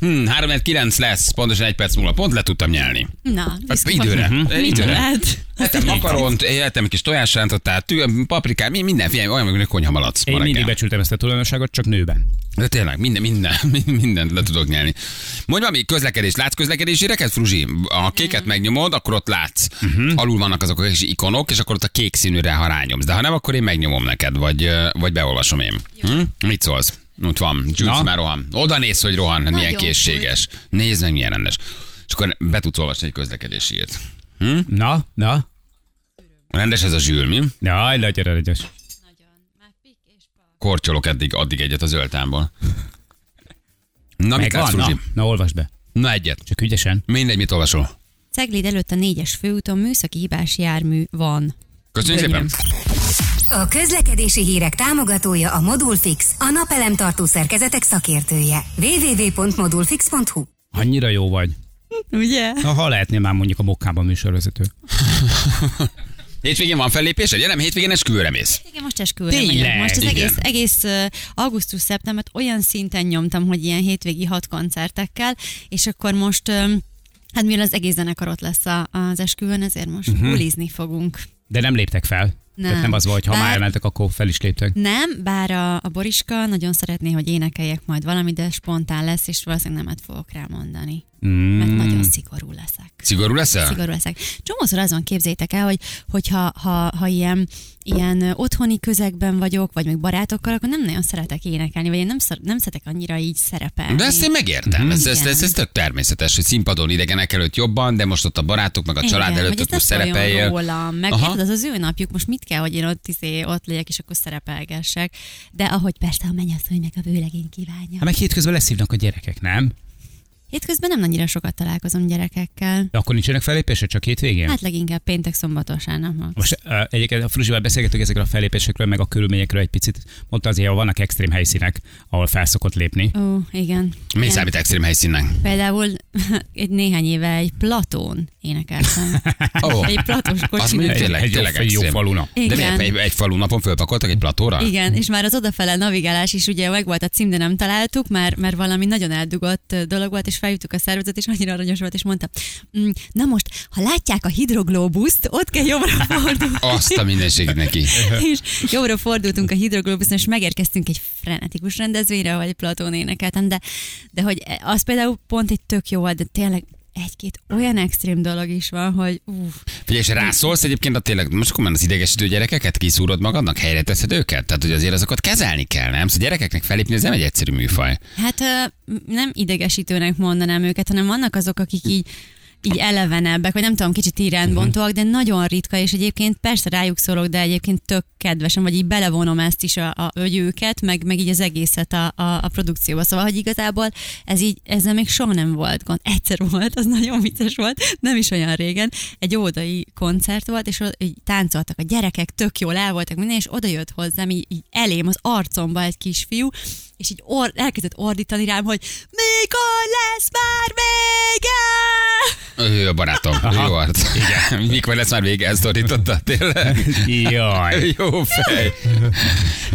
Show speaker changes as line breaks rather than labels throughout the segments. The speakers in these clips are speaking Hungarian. Hm, 3 9 lesz, pontosan egy perc múlva. Pont le tudtam nyelni.
Na,
Hát időre.
Mit
Időre.
csinált?
Ettem makaront, ettem egy kis tojásrántottát, tü- paprikát, mi- mindenféle, olyan, mint konyha malac.
Én mindig becsültem ezt a tulajdonságot, csak nőben.
De tényleg, minden, minden, mindent le tudok nyelni. Mondj valami közlekedés, látsz közlekedési reket, Fruzsi? Ha a kéket megnyomod, akkor ott látsz.
Mhm.
Uh-huh. Alul vannak azok a kis ikonok, és akkor ott a kék színűre, ha rányomsz. De ha nem, akkor én megnyomom neked, vagy, vagy beolvasom én. Hm? Mit szólsz? Ott van, Jules
Na.
már rohan. Oda néz, hogy rohan, Nagyon milyen
Nagyon
készséges. Nézd meg, milyen rendes. És akkor be tudsz olvasni egy közlekedési írt.
Na, na,
Rendes ez a zsűl, mi?
jaj, nagyon aranyos.
Kortyolok eddig, addig egyet az öltámból. Na, mit látsz,
Megvan, na,
Fruzsi?
na, olvasd be.
Na, egyet.
Csak ügyesen.
Mindegy, mit olvasol.
Cegléd előtt a négyes főúton műszaki hibás jármű van.
Köszönjük szépen!
A közlekedési hírek támogatója a Modulfix, a napelem tartó szerkezetek szakértője. www.modulfix.hu
Annyira jó vagy.
Ugye?
Na, ha lehetnél már mondjuk a mokkában műsorvezető.
Hétvégén van fellépés, ugye nem hétvégén esküvőre mész.
Igen, most esküvőre
Tényleg?
megyek. Most az
Igen.
egész, egész ö, augusztus-szeptembert olyan szinten nyomtam, hogy ilyen hétvégi hat koncertekkel, és akkor most, ö, hát mivel az egész zenekar ott lesz a- az esküvőn, ezért most
Mhm.
uh-huh. bulizni fogunk.
De nem léptek fel. Nem. Tehát nem az volt, ha
Bár-
már elmentek, akkor fel is léptek.
Nem, bár a, a Boriska nagyon szeretné, hogy énekeljek majd valamit, de spontán lesz, és valószínűleg nemet fogok rá mondani. Mm. Mert nagyon szigorú leszek.
Szigorú leszel?
Szigorú leszek. Csomószor azon képzétek el, hogy, hogy ha, ha, ha ilyen, ilyen ö, otthoni közegben vagyok, vagy még barátokkal, akkor nem nagyon szeretek énekelni, vagy én nem, szor, nem szeretek annyira így szerepelni.
De ezt én
Mhm.
megértem, ez, ez, ez,
Igen.
ez tök természetes, hogy színpadon idegenek előtt jobban, de most ott a barátok meg a család
Igen,
előtt
hogy
ott
ez
most
ne szóljon
szerepeljél.
Rólam, meg
Aha.
érted, az az ő napjuk, most mit kell, hogy én ott, izé, ott legyek, és akkor szerepelgessek. De ahogy persze a mennyasszony meg a vőlegény kívánja.
Hát meg hétközben leszívnak a gyerekek, nem?
Hétközben nem annyira sokat találkozom gyerekekkel.
De akkor nincsenek fellépések, csak hétvégén?
Hát leginkább péntek, szombat, vasárnap. max.
Most uh, egyébként a Fruzsival beszélgetünk ezekről a fellépésekről, meg a körülményekről egy picit. Mondta azért, hogy vannak extrém helyszínek, ahol felszokott lépni.
Ó, igen.
Mi
igen.
számít extrém helyszínnek?
Például egy néhány éve egy platón énekeltem.
Ó,
Egy platós
az mondjuk
kocsi.
tényleg,
Egy jó-
tényleg
egy jó
extrém.
faluna.
De miért
Igen.
egy, egy falu napon fölpakoltak egy platóra?
Igen, és már az odafele navigálás is ugye meg volt a cím, de nem találtuk, már, már valami nagyon eldugott ö, dolog volt, és felhívtuk a szervezet, és annyira aranyos volt, és mondta, "Mm, na most, ha látják a hidroglóbuszt, ott kell jobbra fordulni.
Azt a mindenségét neki.
és jobbra fordultunk a hidroglobuszon, és megérkeztünk egy frenetikus rendezvényre, ahol egy platón énekeltem, de, de hogy az például pont egy tök jó volt, de tényleg egy-két olyan extrém dolog is van, hogy uff,
Figyelj, és rászólsz egyébként, a tényleg most komolyan az idegesítő gyerekeket kiszúrod magadnak, helyre teszed őket? Tehát, hogy azért azokat kezelni kell, nem? Szóval gyerekeknek felépni, ez nem egy egyszerű műfaj.
hát ö, nem idegesítőnek mondanám őket, hanem vannak azok, akik így így elevenebbek, vagy nem tudom, kicsit iránybontóak, de nagyon ritka, és egyébként persze rájuk szólok, de egyébként tök kedvesen, vagy így belevonom ezt is, a, a, vagy őket, meg, meg így az egészet a, a, a produkcióba. Szóval, hogy igazából ez így, ezzel még soha nem volt gond. Egyszer volt, az nagyon vicces volt, nem is olyan régen. Egy ódai koncert volt, és ott így táncoltak a gyerekek, tök jól el voltak minden, és oda jött hozzám így, így elém az arcomba egy kisfiú, és így or- elkezdett ordítani rám, hogy mikor lesz már vége?
Ő a barátom. Aha. Jó arc. Igen. Mikor lesz már vége, ezt dorította, tényleg?
Jaj.
Jó fej.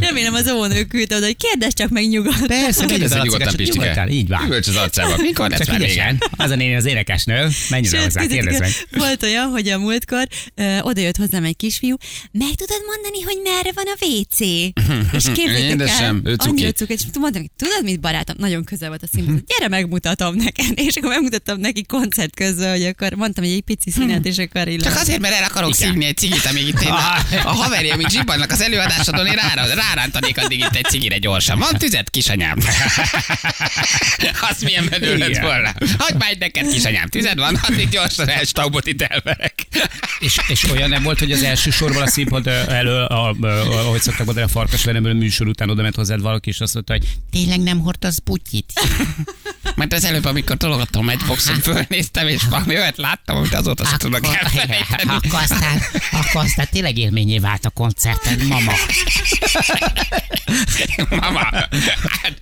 Remélem az óvónő küldte oda, hogy kérdezz csak meg nyugodtan.
Persze,
Kérdezz el
megyed
nyugodtan, Pistike.
nyugodtál, így van.
Üvölcs az arcába. Mikor lesz
Csak
már vége?
ügyesen. Az a néni az énekesnő. Menj oda hozzá,
képzeljétek
kérdezz
el,
meg.
volt olyan, hogy a múltkor ö, oda jött hozzám egy kisfiú, meg tudod mondani, hogy merre van a WC? És képzeljétek
Édesem, ő
el,
cuki.
annyira cuki, és mondtam, hogy tudod mit barátom, nagyon közel volt a színház, gyere megmutatom neked, és akkor megmutattam neki koncert közben, hogy akkor mondtam, hogy egy pici színet, és akkor illet.
Hmm. Csak hát- azért, mert el akarok szívni egy cigit, amíg itt én a, a haverjaim itt zsibbannak az előadásodon, én rá, rárántanék addig itt egy cigire gyorsan. Van tüzet, kisanyám? Azt milyen menő lett
Igen.
volna. Hagyd már egy neked, kisanyám. Tüzed van? Addig gyorsan elstaubot itt elverek.
És, és olyan nem volt, hogy az első sorban a színpad ö, elől, a, a, a, ahogy szoktak mondani, a farkas veremből műsor után oda ment hozzád valaki, és azt mondta, hogy
Tényleg nem hordasz butyit?
Mert az előbb, amikor tologattam egy boxon, fölnéztem, és valami olyat láttam, amit azóta sem tudok elfelejteni.
akkor, aztán, akkor aztán tényleg élményé vált a koncerten, mama.
Mama, hát,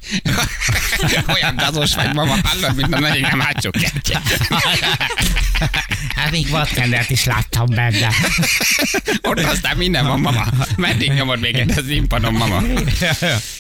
Olyan gazos vagy, mama, hallod, mint a nagyénem hátsó kertje.
Hát még Watkendert is láttam benne.
Ott aztán minden van, mama. Meddig nyomod még itt az impanom, mama?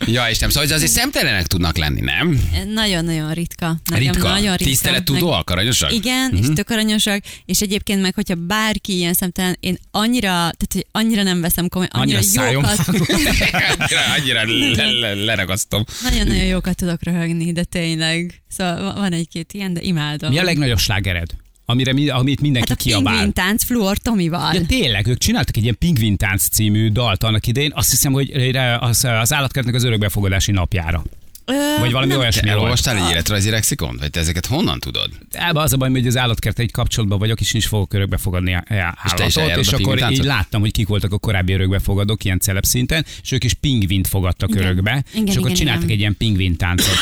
Ja, és nem. Szóval azért szemtelenek tudnak lenni, nem?
Nagyon-nagyon ritka. Nekem
Ritka. Hmm.
Nagyon ritka.
Tisztelet tudóak, aranyosak?
Igen, mm-hmm. és tök aranyosak, és egyébként meg, hogyha bárki ilyen szemtelen, én annyira, tehát, hogy annyira nem veszem komolyan, annyira,
Annyira szájom
jókat,
annyira, annyira le, le, leragasztom.
nagyon-nagyon jókat tudok röhögni, de tényleg. Szóval va- van egy-két ilyen, de imádom.
Mi a legnagyobb slágered? Amire, mi- amit mindenki
hát a
kiabál.
pingvin tánc Fluor Tomival.
Ja, tényleg, ők csináltak egy ilyen Pingvin Tánc című dalt annak idején, azt hiszem, hogy rá- az, az állatkertnek az örökbefogadási napjára.
Ö,
Vagy valami
nem-
Te
olyasmi volt.
elolvastál egy életrajzi lexikont? Vagy te ezeket honnan tudod?
Á, Az a baj, hogy az állatkert egy kapcsolatban vagyok, és nincs fogok örökbefogadni á- állatot, és,
eljárod
és
a
akkor
pingvintáncot?
így láttam, hogy kik voltak a korábbi örökbefogadók ilyen celeb szinten, és ők is pingvint fogadtak
Igen.
örökbe,
Igen,
és akkor
igen,
csináltak
igen.
egy ilyen pingvin táncot.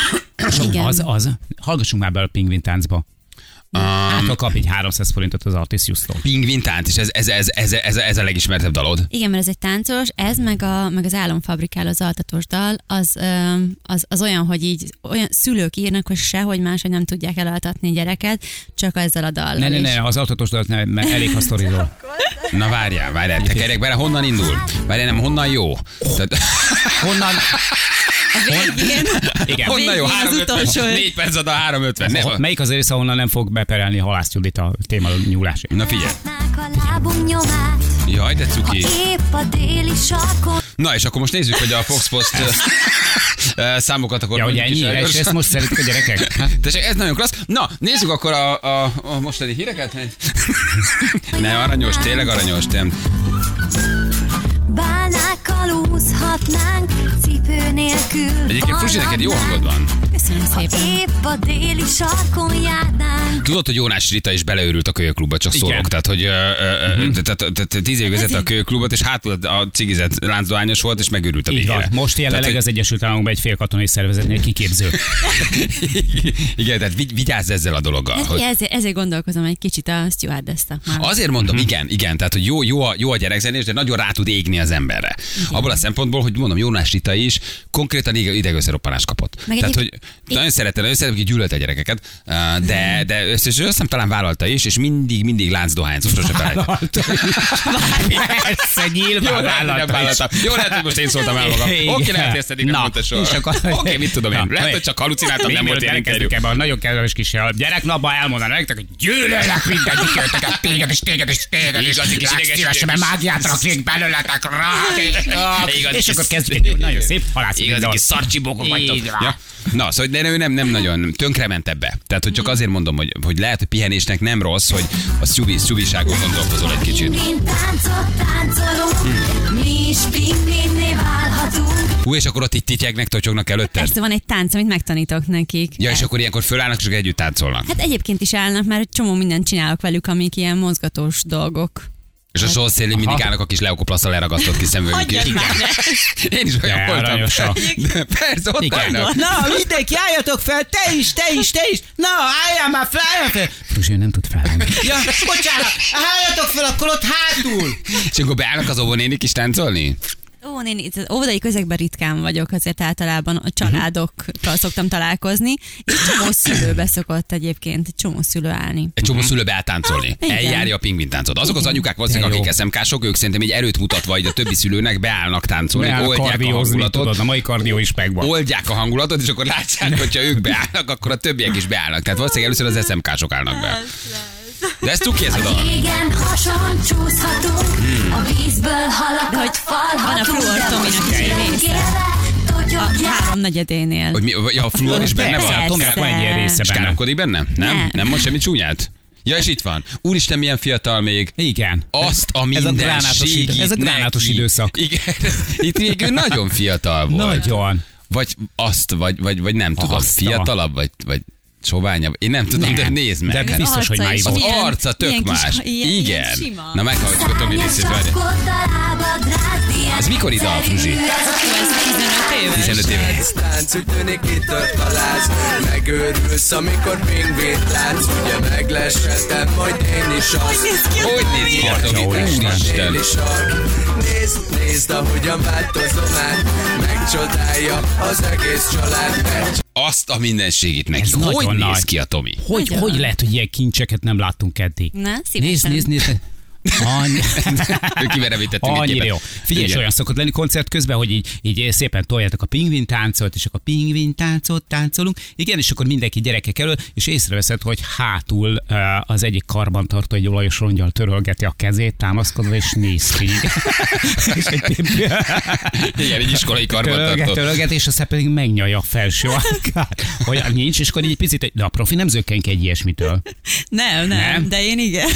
És
Igen.
az, az, hallgassunk már bele a pingvin táncba. Hát, ha kap egy 300 forintot az Artisius-tól.
Pingvin tánc, és ez, ez, ez, ez, ez, ez a legismertebb dalod.
Igen, mert ez egy táncos, ez meg, a, meg az álomfabrikál az altatós dal, az, ö, az, az olyan, hogy így olyan szülők írnak, hogy sehogy máshogy nem tudják elaltatni a gyereket, csak ezzel a dallal
Ne, ne,
is.
ne, az altatós dalt nem, mert elég ha sztorizol.
Na várjál, várjál, te kerek bele, honnan indul? Várjál, nem, honnan jó? Tehát,
Honnan?
A végén,
Igen.
a
honnan jó?
végén az
350,
utolsó.
4 perc ad a 350.
Ho-
Ne,
Melyik az a része, ahonnan nem fog beperelni Halász Judit a téma nyúlásért?
na figyelj.
Látnák a lábunk nyomát,
Jaj, de
ha
cuki.
épp a déli sarkon.
Na, és akkor most nézzük, hogy a Fox Post ö, ö, számokat akkor...
Ja, hogy
mondjuk is Hát,
ennyire, és
elgyorsan.
ezt most szeretik a gyerekek?
Tessék, ez nagyon klassz. Na, nézzük akkor a, a, a mostani híreket. nem, aranyos, tényleg aranyos, nem.
Bálnákkal úszhatnánk, cipő nélkül.
Egyébként Frusi, neked jó hangod van.
Köszönöm
Ha
szépen.
épp a déli sarkon járnánk,
Tudod, hogy Jónás Rita is beleőrült a kölyökklubba, csak
Igen. Mhm.
szólok. Tehát, hogy ö, ö, ö, tehát- tehát- tehát tíz évig vezette a kölyökklubot, és hátul a cigizett láncdohányos volt, és megőrült a
Így van.
végére.
Most jelenleg
tehát,
az Egyesült Államokban egy félkatonai szervezetnél kiképző.
hogy- Igen, tehát vigy- vigyázz ezzel a
Ah,
dologgal.
Hát,
Hogy
ezért, ezért gondolkozom egy kicsit a stewardess
Azért mondom,
Mhm.
igen, igen, tehát hogy jó, jó, a, jó a gyerekzenés, de nagyon rá tud égni az emberre. Abból a szempontból, hogy mondom, Jónás Rita is konkrétan ide- idegösszeroppanást kapott.
Meg
tehát,
egyéb-
hogy nagyon szerette, nagyon szerette, hogy gyűlölte a gyerekeket, uh, de, de összes, azt hiszem talán vállalta is, és mindig, mindig láncdohányzó, sose felejtem.
Persze,
Jó,
nyilván
lehet, hogy nem Hát,
vállalta
vállaltam.
is.
Jó, lehet, hogy most én szóltam el magam.
Igen.
Oké, lehet, hogy ezt eddig nem
Na,
mondta soha.
és akkor-
Oké, mit tudom én.
Na,
Lehet,
mi?
hogy csak halucináltam,
Még
nem volt
mielőtt
ilyen interjú.
elkezdjük ebben a nagyon kedves kis gyereknapban elmondanám nektek, hogy gyűlölök mindegyik őtöket, téged és téged és téged és
Igazi kis
lágy
ideges
szívesen, mert
gyerek.
mágiát raknék belőletek rá.
Igazi
És
kis-
akkor kezdjük egy nagyon szép halász.
Igazi kis
szarcsibókok
Így van. Ja. Na, szóval de ő nem, nem nagyon tönkrement ebbe. Tehát, hogy csak azért mondom, hogy, hogy lehet, hogy pihenésnek nem rossz, hogy a szuvi, szuviságon gondolkozol egy kicsit. Hm.
mint táncot táncolunk, mi is pingvinné válhatunk.
Hú, és akkor ott így tityegnek, totyognak előtte.
Persze van egy tánc, amit megtanítok nekik.
Ja, és akkor ilyenkor fölállnak, és akkor együtt táncolnak.
Hát egyébként is állnak, mert egy csomó mindent csinálok velük, amik ilyen mozgatós dolgok.
És a só szélén mindig
Hát- Aha.
állnak a kis leokoplaszra leragasztott kis szemüvegük.
Hagyjad
Igen.
már!
Én is olyan
De
voltam.
aranyosak.
De Persze, ott állnak.
Na, mindenki, álljatok fel, te is, te is, te is. Na, álljál már fel, álljál fel.
Fruzsi nem tud felállni.
Ja, bocsánat, álljatok fel, akkor ott hátul.
És akkor beállnak az óvonénik is táncolni?
Ó, én itt az óvodai közegben ritkán vagyok, azért általában a családokkal szoktam találkozni, és csomó szülőbe szokott egyébként, egy csomó szülő állni.
Egy
Mhm.
csomó szülő beáll táncolni.
Igen.
Eljárja a pingvin táncot. Azok az anyukák valószínűleg,
Hát, De jó.
akik SMK-sok, ők szerintem egy erőt mutatva így a többi szülőnek beállnak táncolni,
Beáll
oldják a
kardiózni,
hangulatot.
tudod, a mai kardió is megvan.
Oldják a hangulatot, és akkor látják, hogyha ők beállnak, akkor a többiek is beállnak. Tehát valószínűleg először az SMK-sok állnak be. De ez cuki ez a dolog.
Igen, hason csúszhatunk, a vízből
De
halakat
hogy van a
falhatunk.
Fluor Tominak is egy része. A háromnegyedénél.
Hogy mi, ja, a fluor is benne
Persze,
van?
a Tominak van egy ilyen része
És
benne.
káromkodik benne? Nem?
Nem.
Nem mond semmi csúnyát? Ja, és itt van. Úristen, milyen fiatal még.
Igen.
Azt a
Ez a gránátos,
mindenségét
idő, ez a gránátos
neki.
időszak.
Igen, itt még ő nagyon fiatal volt.
Nagyon.
Vagy azt, vagy, vagy, vagy nem tudom,
Azt a-
fiatalabb, vagy, vagy soványabb. Én nem tudom, de nézd meg.
De
Hát
biztos, hogy már
Az
az
ivott.
Ilyen-
arca tök
ilyen kis-
más.
ilyen- ilyen
Igen.
sima.
Na meghallgatjuk a Tomi részét, várj. Ez mikor ide a Fruzsi?
Ez
15 éve.
Lánc, lánc, ütőnik, kitört a láz Megőrülsz, amikor pingvét látsz Ugye meglesetem, majd én is azt
Hogy néz ki a Tomi?
Atya úristen.
Úristen.
Déli sark Nézd, nézd, ahogyan változom át csodálja az egész család. Egy
Azt a mindenségét neki.
Ez nagyon
Hogy néz
nagy.
ki a Tomi?
Hogy,
Nagyon.
hogy lehet, hogy ilyen kincseket nem láttunk eddig?
Na, szívesen.
Nézd, nézd, nézd. Annyi,
Kiverevítettünk egy
annyira
képet.
jó. Figyelj, és
Igen.
olyan szokott lenni koncert közben, hogy így, így szépen toljátok a pingvin táncolt, és akkor pingvin táncot táncolunk. Igen, és akkor mindenki gyerekek elől, és észreveszed, hogy hátul eh, az egyik karbantartó egy olajos rongyal törölgeti a kezét, támaszkodva, és néz ki. és egy
Igen, egy iskolai
Törölget,
karbantartó.
törölget, és aztán pedig megnyalja a felső ajkát. Hogy nincs, és akkor így picit, de a profi nem zökkenk egy ilyesmitől.
Nem, nem,
Nem?
nem, de én igen.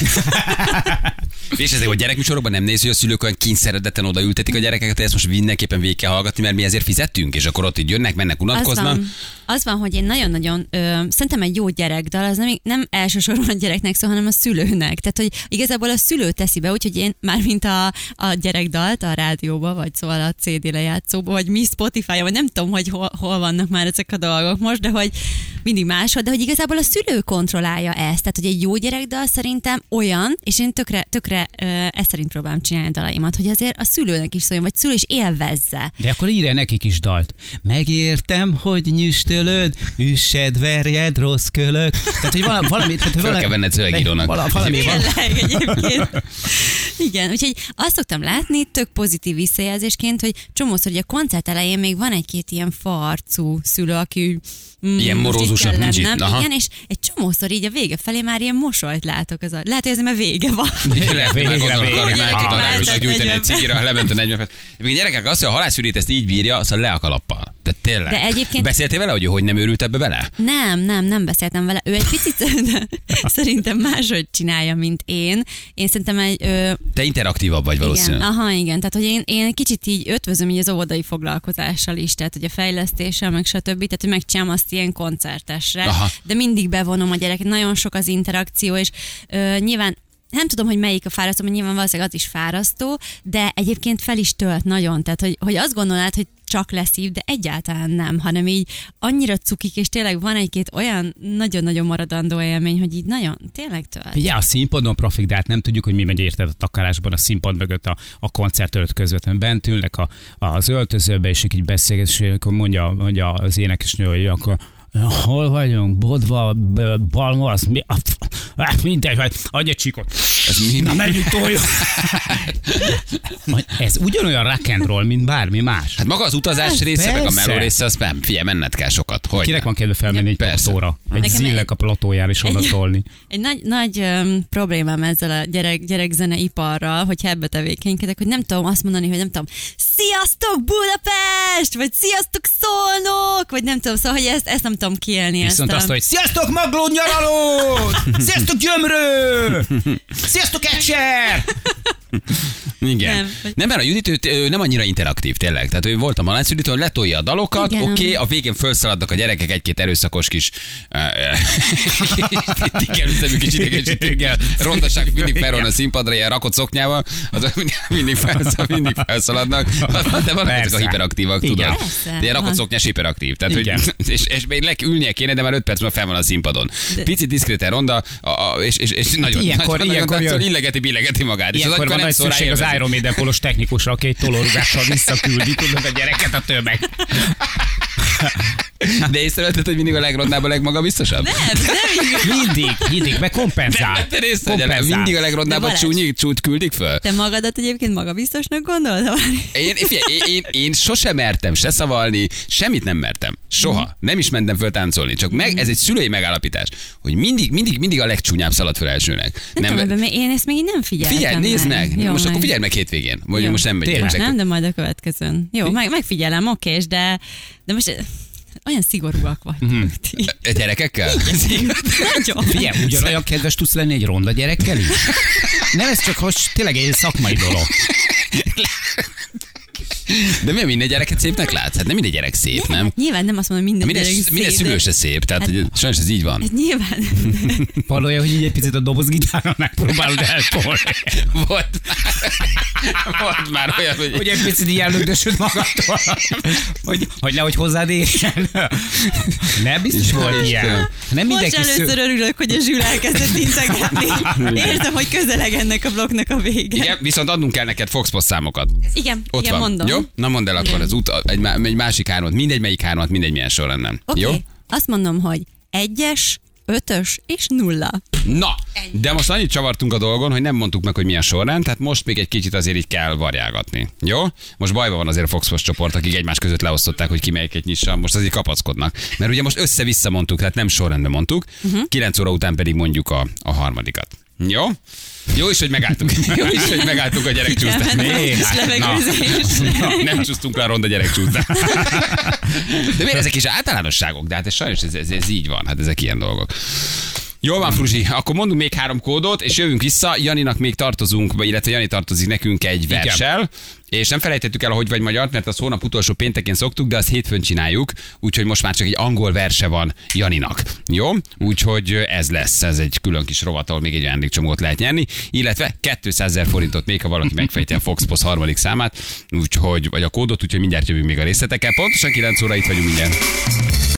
És ezért, hogy gyerekműsorokban nem néz, hogy a szülők olyan kényszeredetten odaültetik a gyerekeket, hogy ezt most mindenképpen végig kell hallgatni, mert mi ezért fizettünk, és akkor ott így jönnek, mennek,
Az
unatkoznak.
van, az van, hogy én nagyon-nagyon, ö, szerintem egy jó gyerekdal, az nem, nem elsősorban a gyereknek szól, hanem a szülőnek. Tehát, hogy igazából a szülő teszi be, úgyhogy én már mint a, a gyerekdalt a rádióba, vagy szóval a CD lejátszóba, vagy mi Spotify-ja, vagy nem tudom, hogy hol, hol vannak már ezek a dolgok most, de hogy mindig máshol, de hogy igazából a szülő kontrollálja ezt. Tehát, hogy egy jó gyerekdal szerintem olyan, és én tökre, tökre ö, ezt szerint próbálom csinálni a dalaimat, hogy azért a szülőnek is szóljon, vagy szülő is élvezze.
De akkor írja nekik is dalt. Megértem, hogy nyüstölöd, üssed, verjed, rossz kölök. Tehát, hogy vala- valami... Tehát,
Föl
hogy valami
kell venned szövegírónak.
Vala, valami van.
Tényleg egyébként. Igen, úgyhogy azt szoktam látni, tök pozitív visszajelzésként, hogy csomószor, hogy a koncert elején még van egy-két ilyen farcú szülő, aki úgy, mm,
Ilyen
most így
morózusabb,
kell
nincs itt,
lennem.
aha.
Igen, és egy csomószor így a vége felé már ilyen mosolyt látok. Az a... Lehet, hogy ez már vége van.
Lehet, hogy már
Végre,
gondolnak
végre.
arra, hogy már
Ah.
két aláírásnak gyűjteni egy
Váltott
cigira, lement a 40 perc. Még gyerekek azt, hogy a halászűrét ezt így bírja, azt a le a kalappal. De tényleg.
De egyébként-
Beszéltél vele, hogy ő hogy nem őrült ebbe bele?
Nem, nem, nem beszéltem vele. Ő egy picit szerintem máshogy csinálja, mint én. Én szerintem egy, ö,
Te interaktívabb vagy
Igen, Ah.
valószínűleg.
aha, igen. Tehát, hogy én, én kicsit így ötvözöm így az óvodai foglalkozással is, tehát, hogy a fejlesztéssel, meg stb. Tehát, hogy megcsinálom azt ilyen koncertesre.
Aha.
De mindig bevonom a gyereket, nagyon sok az interakció, és ö, nyilván nem tudom, hogy melyik a fárasztó, mert nyilván valószínűleg az is fárasztó, de egyébként fel is tölt nagyon. Tehát, hogy, hogy azt gondolnád, hogy csak leszív, de egyáltalán nem, hanem így annyira cukik, és tényleg van egy-két olyan nagyon-nagyon maradandó élmény, hogy így nagyon, tényleg tölt.
Ugye a színpadon profik, de hát nem tudjuk, hogy mi megy érted a takarásban, a színpad mögött, a, a koncert előtt közvetlenül bent ülnek a, az öltözőbe, és ők így beszélgetnek, és akkor mondja, mondja az énekesnő, hogy akkor hol vagyunk, bodva, b- balmarasz, mi, a, a, mindegy, vagy adja csíkot.
Ez mi?
Na, menjünk toljuk. Majd ez ugyanolyan rock and roll, mint bármi más.
Hát maga az utazás része, meg a
persze.
meló része, az nem. Figyelj, menned kell sokat. Hogy?
Kinek
ne?
van kedve felmenni egy
Persze.
platóra? Egy
Nekem
zillek
egy-
a platójára is oda
egy-
tolni.
Egy nagy, nagy um, problémám ezzel a gyerek, gyerekzene iparral, hogy ebbe tevékenykedek, hogy nem tudom azt mondani, hogy nem tudom, sziasztok Budapest, vagy sziasztok Szolnok, vagy nem tudom, szóval, hogy ezt, ezt nem tudom kielni.
Viszont
ezt
azt, hogy
Sziasztok, magló nyaraló! Sziasztok, gyömrő! Sziasztok, ecser!
Igen. Nem,
Nem.
nem mert a Judit ő, ő nem annyira interaktív, tényleg. Tehát ő volt a Malánc Judit, hogy letolja a dalokat, oké,
Igen.
okay, a végén felszaladnak a gyerekek egy-két erőszakos kis ö, ö, igen, ütemű kis idegesítőkkel, rondaság mindig felron a színpadra, ilyen rakott szoknyával, azok mindig, mindig, felszal, mindig felszaladnak. Aztán De vannak ezek a
Persze.
hiperaktívak,
Igen.
tudod.
Persze,
De ilyen rakott
van.
szoknyás hiperaktív. Tehát, hogy,
Igen.
és, és még neki ülnie kéne, de már 5 perc múlva fel van a színpadon. Picit diszkréten ronda, a, a, és, és, és nagyon,
Hát ilyenkor-
nagyon,
ilyenkor
nagyon
jön.
táncol, illegeti, billegeti magát. És az
Ilyenkor
akkor
van
nem
nagy
szól rá
szükség az
élvezni.
Iron Maiden polos technikusra, aki egy tolórugással visszaküldi, tudod, a gyereket a tömeg.
De észrevetted, hogy mindig a legrondább a legmagabiztosabb?
Nem, nem így.
Mindig, mindig, meg kompenzál.
Hát Te részt vagy el,
Kompenzál.
mindig a legrondábbat
De Balázs-
csúnyi, csút küldik föl.
Te magadat egyébként magabiztosnak gondolod? Vali?
Én, figyelj, én, én, én sosem mertem se szavalni, semmit nem mertem.
Mhm.
Soha. Nem is mentem föl táncolni. Csak meg, ez egy szülői megállapítás, hogy mindig, mindig, mindig a legcsúnyább szalad föl elsőnek.
Nem, nem tudom, ebben én ezt még így nem figyeltem.
Figyelj, nézd meg.
Jó,
most akkor figyelj meg hétvégén. Mondjuk
Jó.
most nem megyünk.
Tényleg.
csak-
Nem, de majd a következőn. Jó, meg, megfigyelem, oké, és de, de most olyan szigorúak vagytok.
Mhm.
Mm.
A Eh, Gyerekekkel?
Nagyon.
Figyelj, ugyanolyan kedves tudsz lenni egy ronda gyerekkel is? Nem, ez csak hogy tényleg egy szakmai dolog.
De mi a minden gyereket szépnek látsz? Hát nem minden gyerek szép, nem?
Hát nyilván nem azt mondom, hogy minden,
Minden,
gyerek
minden
szép, de-
szülő se szép, tehát hogy sajnos ez így van.
Hát nyilván.
Valója, hogy így egy picit a dobozgitárral megpróbálod eltolni.
Volt már, volt már olyan, hogy...
Hogy egy picit így ellögdösöd magadtól. Hogy, hogy nehogy hozzád érjen. Nem biztos volt ilyen.
Most
Nem mindenki sző-
először örülök, hogy a zsűl elkezdett integetni. Érzem, hogy közeleg ennek a blokknak a vége.
Igen, viszont adnunk kell neked Fox Post számokat.
Igen,
Ott
igen
van.
mondom.
Jó? Jó? Na mondd el akkor az út, egy, má- egy másik hármat, mindegy melyik hármat, mindegy milyen sorrendben.
Oké,
Jó?
okay. azt mondom, hogy egyes, ötös és nulla.
Na, de most annyit csavartunk a dolgon, hogy nem mondtuk meg, hogy milyen sorrend, tehát most még egy kicsit azért így kell varjálgatni. Jó? Most bajban van azért a Fox Sports csoport, akik egymás között leosztották, hogy ki melyiket nyissa, most azért kapackodnak. Mert ugye most össze-vissza mondtuk, tehát nem sorrendben mondtuk,
Mhm.
uh-huh. 9 óra után pedig mondjuk a, a harmadikat. Jó? Jó is, hogy megálltunk. Jó is, hogy megálltunk a gyerekcsúsztát.
Igen,
Még?
kis levegőzés.
Na, nem csúsztunk le a ronda gyerekcsúsztát. De miért ezek is általánosságok? De hát ez sajnos ez, ez, ez így van, hát ezek ilyen dolgok. Jól van, Fruzsi, akkor mondunk még három kódot, és jövünk vissza. Janinak még tartozunk, vagy illetve Jani tartozik nekünk egy verssel. És nem felejtettük el a Hogy vagy magyar, mert az hónap utolsó péntekén szoktuk, de azt hétfőn csináljuk, úgyhogy most már csak egy angol verse van Janinak. Jó? Úgyhogy ez lesz, ez egy külön kis rovat, ahol még egy ajándékcsomót lehet nyerni, illetve 200 ezer forintot még, ha valaki megfejti a Fox Post harmadik számát, úgyhogy, vagy a kódot, úgyhogy mindjárt jövünk még a részletekkel. Pontosan 9 óra itt vagyunk mindjárt.